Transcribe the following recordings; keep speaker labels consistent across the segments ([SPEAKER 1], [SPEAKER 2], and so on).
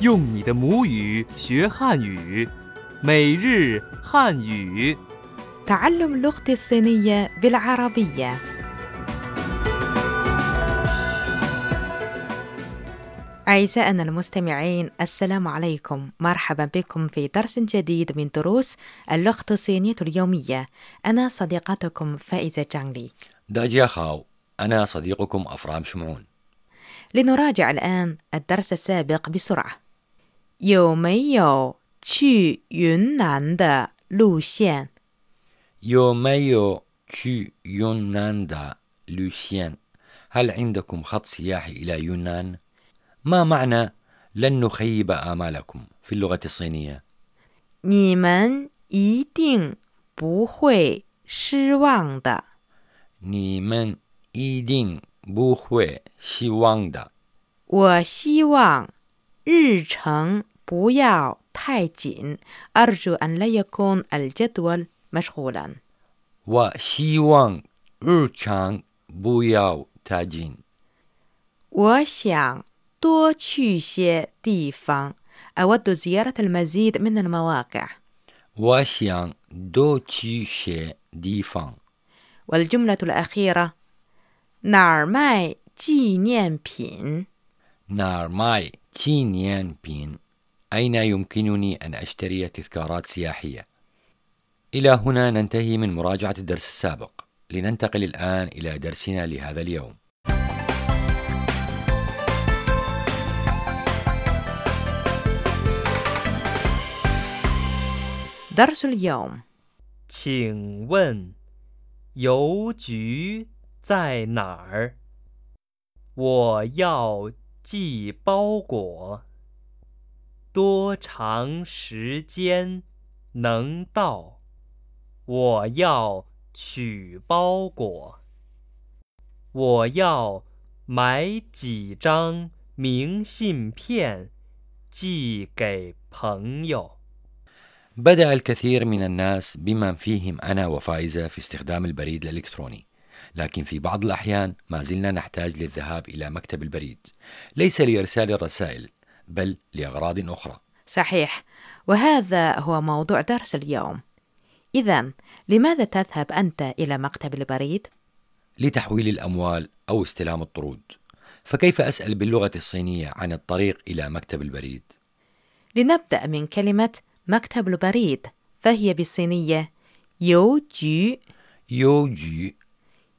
[SPEAKER 1] 用你的母语学汉语，每日汉语。
[SPEAKER 2] تعلم لغتي الصينية بالعربية أعزائنا المستمعين السلام عليكم مرحبا بكم في درس جديد من دروس اللغة الصينية اليومية أنا صديقتكم فائزة جانلي
[SPEAKER 3] داجيا خاو أنا صديقكم أفرام شمعون
[SPEAKER 2] لنراجع الآن الدرس السابق بسرعة 有没有去云南的路线？
[SPEAKER 3] يو مايو تشي يونان دا لوشيان هل عندكم خط سياحي إلى يونان؟ ما معنى لن نخيب آمالكم في اللغة الصينية؟
[SPEAKER 2] 你们一定不会失望的。
[SPEAKER 3] ني من إيدين بوخوي شيواندا
[SPEAKER 2] 我希望日程不要太紧。أرجو أن لا يكون الجدول مشغولا.
[SPEAKER 3] وشيوان إرشان بوياو تاجين
[SPEAKER 2] 我想多去些地方。أود زيارة المزيد من المواقع.
[SPEAKER 3] وشيان دو تشي شي ديفان
[SPEAKER 2] والجملة الأخيرة: 哪儿卖纪念品？
[SPEAKER 3] نار ماي تينيان بين أين يمكنني أن أشتري تذكارات سياحية؟ إلى هنا ننتهي من مراجعة الدرس السابق لننتقل الآن إلى درسنا لهذا اليوم
[SPEAKER 2] درس اليوم.
[SPEAKER 1] 请问邮局在哪儿？我要寄包裹，多长时间能到？我要取包裹，我要买几张明信片寄给朋友。
[SPEAKER 3] بدأ الكثير من الناس بمن فيهم أنا وفائزة في استخدام البريد الإلكتروني لكن في بعض الأحيان ما زلنا نحتاج للذهاب إلى مكتب البريد ليس لإرسال الرسائل بل لأغراض أخرى
[SPEAKER 2] صحيح وهذا هو موضوع درس اليوم إذا لماذا تذهب أنت إلى مكتب البريد؟
[SPEAKER 3] لتحويل الأموال أو استلام الطرود فكيف أسأل باللغة الصينية عن الطريق إلى مكتب البريد؟
[SPEAKER 2] لنبدأ من كلمة مكتب البريد فهي بالصينية يو جي
[SPEAKER 3] يو جي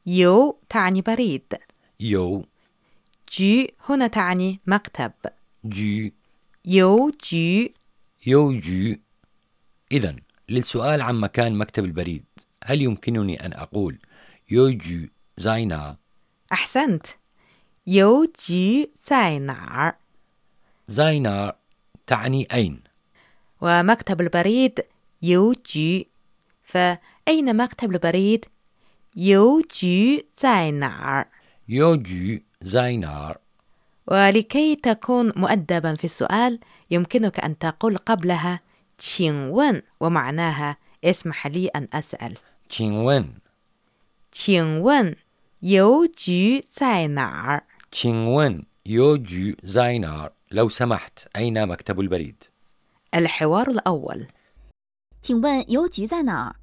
[SPEAKER 2] يو تعني بريد
[SPEAKER 3] يو
[SPEAKER 2] جي هنا تعني مكتب
[SPEAKER 3] جي
[SPEAKER 2] يو جي
[SPEAKER 3] يو جي إذا للسؤال عن مكان مكتب البريد هل يمكنني أن أقول يو جي زاينا
[SPEAKER 2] أحسنت يو جي زاي نار
[SPEAKER 3] زاينا تعني أين؟
[SPEAKER 2] ومكتب البريد يو جي فأين مكتب البريد؟ يو جي زاي نار
[SPEAKER 3] يو جي زاينا
[SPEAKER 2] ولكي تكون مؤدبا في السؤال يمكنك أن تقول قبلها تشينون ومعناها اسمح لي أن أسأل
[SPEAKER 3] تشينوين
[SPEAKER 2] تشينون يوجي نار
[SPEAKER 3] تشينوين يو جي زاينا لو سمحت أين مكتب البريد؟
[SPEAKER 2] الحوار الأول
[SPEAKER 4] 请问邮局在哪儿？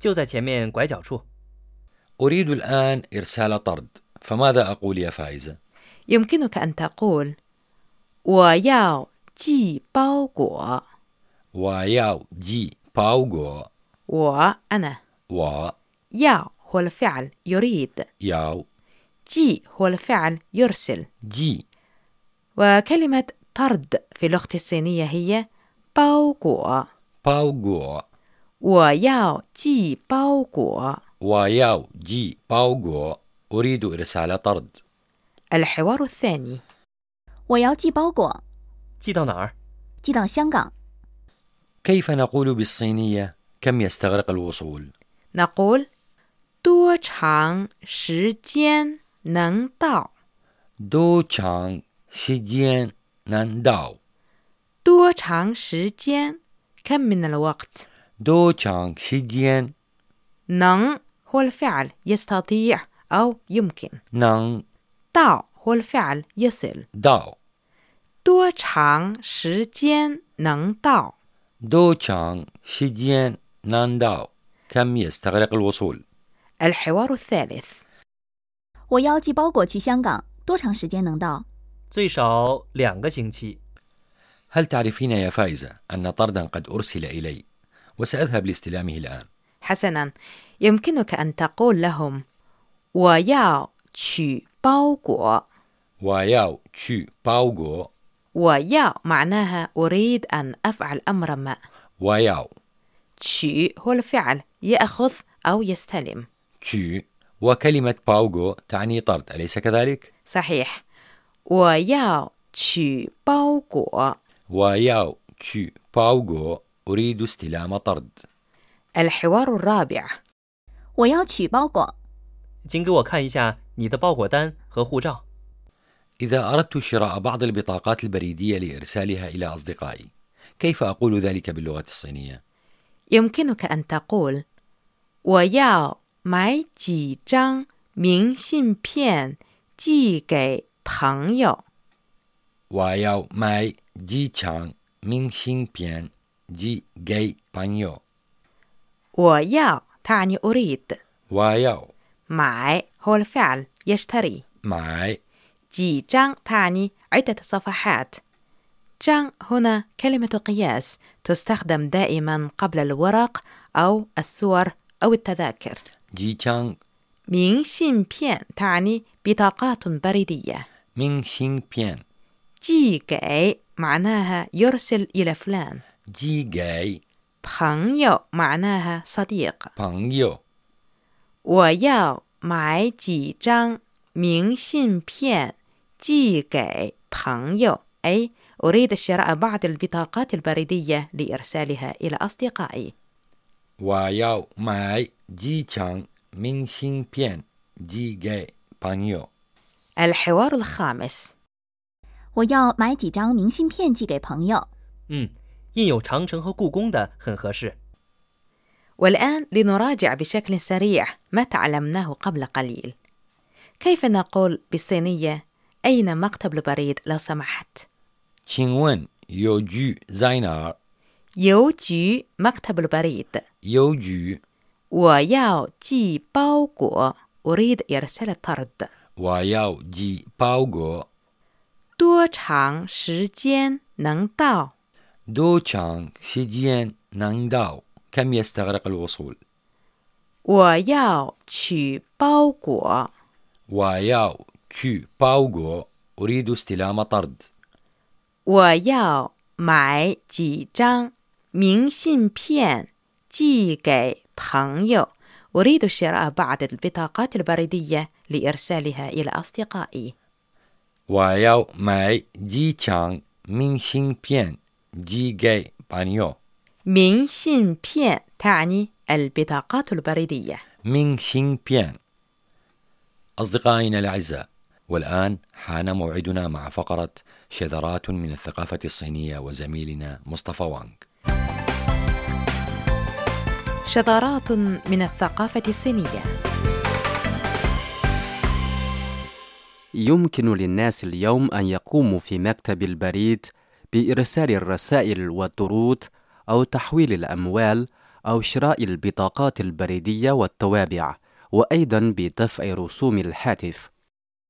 [SPEAKER 1] 就在前面拐角处。
[SPEAKER 3] أريد الآن إرسال طرد فماذا أقول يا فائزة؟
[SPEAKER 2] يمكنك أن تقول 我要寄包裹
[SPEAKER 3] وياو جي باوغو
[SPEAKER 2] 我 أنا
[SPEAKER 3] و
[SPEAKER 2] 要 هو الفعل يريد
[SPEAKER 3] ياو
[SPEAKER 2] جي هو الفعل يرسل
[SPEAKER 3] جي
[SPEAKER 2] وكلمة طرد في لغة الصينية هي 包裹
[SPEAKER 3] باوغو
[SPEAKER 2] 我要寄包裹。
[SPEAKER 3] وياو جي باوغو أريد إرسال طرد
[SPEAKER 2] الحوار الثاني
[SPEAKER 4] 我要寄包裹，
[SPEAKER 1] 寄到哪儿？
[SPEAKER 4] 寄到香港。
[SPEAKER 3] كيف نقول بالصينية كم يستغرق الوصول؟
[SPEAKER 2] نقول 多长时间能到?
[SPEAKER 3] دو تشانغ شيجين نانداو
[SPEAKER 2] 多长时间 كم من الوقت
[SPEAKER 3] دو تشانغ شيجين
[SPEAKER 2] 能 هو الفعل يستطيع أو يمكن
[SPEAKER 3] نان
[SPEAKER 2] 到 هو الفعل يصل
[SPEAKER 3] داو
[SPEAKER 2] 多长时间能到？
[SPEAKER 3] دو تشانغ شيديان نانداو كم يستغرق الوصول
[SPEAKER 2] الحوار الثالث
[SPEAKER 4] 我要寄包裹去香港，多长时间能到？
[SPEAKER 1] 最少两个星期。
[SPEAKER 3] هل تعرفين يا فائزة أن طردا قد أرسل إلي وسأذهب لاستلامه الآن
[SPEAKER 2] حسنا يمكنك أن تقول لهم ويا تشي باوغو
[SPEAKER 3] وياو تشو باوغو
[SPEAKER 2] ويا معناها أريد أن أفعل أمرا ما
[SPEAKER 3] وياو
[SPEAKER 2] تشي هو الفعل يأخذ أو يستلم
[SPEAKER 3] تشو وكلمة باوغو تعني طرد أليس كذلك؟
[SPEAKER 2] صحيح ويا تشي باوغو
[SPEAKER 3] وياو تشو باوغو أريد استلام طرد
[SPEAKER 2] الحوار الرابع
[SPEAKER 4] 我要取包裹。
[SPEAKER 1] 请给我看一下你的包裹单和护照。
[SPEAKER 3] إذا أردت شراء بعض البطاقات البريدية لإرسالها إلى أصدقائي كيف أقول ذلك باللغة الصينية؟
[SPEAKER 2] يمكنك أن تقول 我要买几张明信片寄给朋友。我要买
[SPEAKER 3] وياو ماي جي تشانغ مين شين بيان جي جاي بانيو
[SPEAKER 2] تعني أريد
[SPEAKER 3] وياو
[SPEAKER 2] معي هو الفعل يشتري
[SPEAKER 3] معي
[SPEAKER 2] جي جان تعني عدة صفحات جان هنا كلمة قياس تستخدم دائما قبل الورق أو الصور أو التذاكر
[SPEAKER 3] جي تشانغ
[SPEAKER 2] مين شين بيان تعني بطاقات بريدية
[SPEAKER 3] مين شين بيان
[SPEAKER 2] جي جاي معناها يرسل إلى فلان
[SPEAKER 3] جي جاي
[SPEAKER 2] 朋友 معناها صديق
[SPEAKER 3] بانيو
[SPEAKER 2] 我要买几张明信片寄给朋友 أي أريد شراء بعض البطاقات البريدية لإرسالها إلى أصدقائي
[SPEAKER 3] وياو ماي جي تشانغ مين شين بيان جي جاي بانيو
[SPEAKER 2] الحوار الخامس
[SPEAKER 4] 我要买几张明信片寄给朋友。
[SPEAKER 1] 嗯，印有长城和故宫的很合适。
[SPEAKER 2] والآن لنراجع بشكل سريع ما تعلمناه قبل قليل كيف نقول بالصينية أين مكتب البريد لو سمحت؟
[SPEAKER 3] 请问邮局在哪儿？
[SPEAKER 2] 邮局 مكتب البريد
[SPEAKER 3] 邮局，
[SPEAKER 2] 我要寄包裹 أريد إرسال الطرد
[SPEAKER 3] 我要寄包裹。
[SPEAKER 2] 多长时间能到？
[SPEAKER 3] 多长时间能到？كم يستغرق الوصول؟
[SPEAKER 2] 我要取包裹。
[SPEAKER 3] وياو تشو باوغو أريد استلام طرد
[SPEAKER 2] 我要买几张明信片寄给朋友。أريد شراء بعض البطاقات البريدية لإرسالها إلى أصدقائي.
[SPEAKER 3] وياو ماي جي تشانغ مين شين بيان جي جاي بانيو
[SPEAKER 2] 明信片 تعني البطاقات البريدية.
[SPEAKER 3] مين شين بيان أصدقائنا الأعزاء والآن حان موعدنا مع فقرة شذرات من الثقافة الصينية وزميلنا مصطفى وانغ
[SPEAKER 2] شذرات من الثقافة الصينية.
[SPEAKER 5] يمكن للناس اليوم أن يقوموا في مكتب البريد بإرسال الرسائل والطرود أو تحويل الأموال أو شراء البطاقات البريدية والتوابع وأيضا بدفع رسوم الهاتف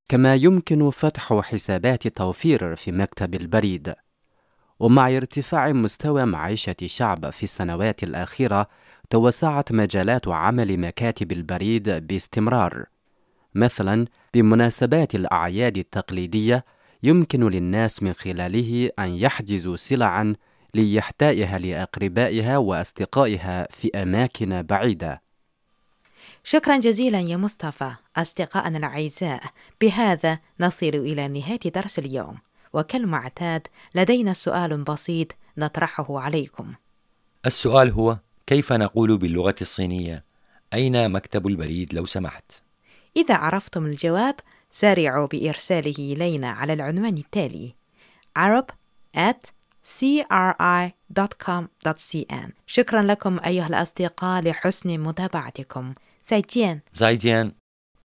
[SPEAKER 5] كما يمكن فتح حسابات توفير في مكتب البريد ومع ارتفاع مستوى معيشة الشعب في السنوات الأخيرة توسعت مجالات عمل مكاتب البريد باستمرار مثلا بمناسبات الأعياد التقليدية يمكن للناس من خلاله أن يحجزوا سلعا ليحتائها لأقربائها وأصدقائها في أماكن بعيدة
[SPEAKER 2] شكرا جزيلا يا مصطفى أصدقائنا الأعزاء بهذا نصل إلى نهاية درس اليوم وكالمعتاد لدينا سؤال بسيط نطرحه عليكم
[SPEAKER 3] السؤال هو كيف نقول باللغة الصينية أين مكتب البريد لو سمحت؟
[SPEAKER 2] إذا عرفتم الجواب سارعوا بإرساله إلينا على العنوان التالي arab at cri.com.cn شكرا لكم أيها الأصدقاء لحسن متابعتكم 再见
[SPEAKER 3] زايديان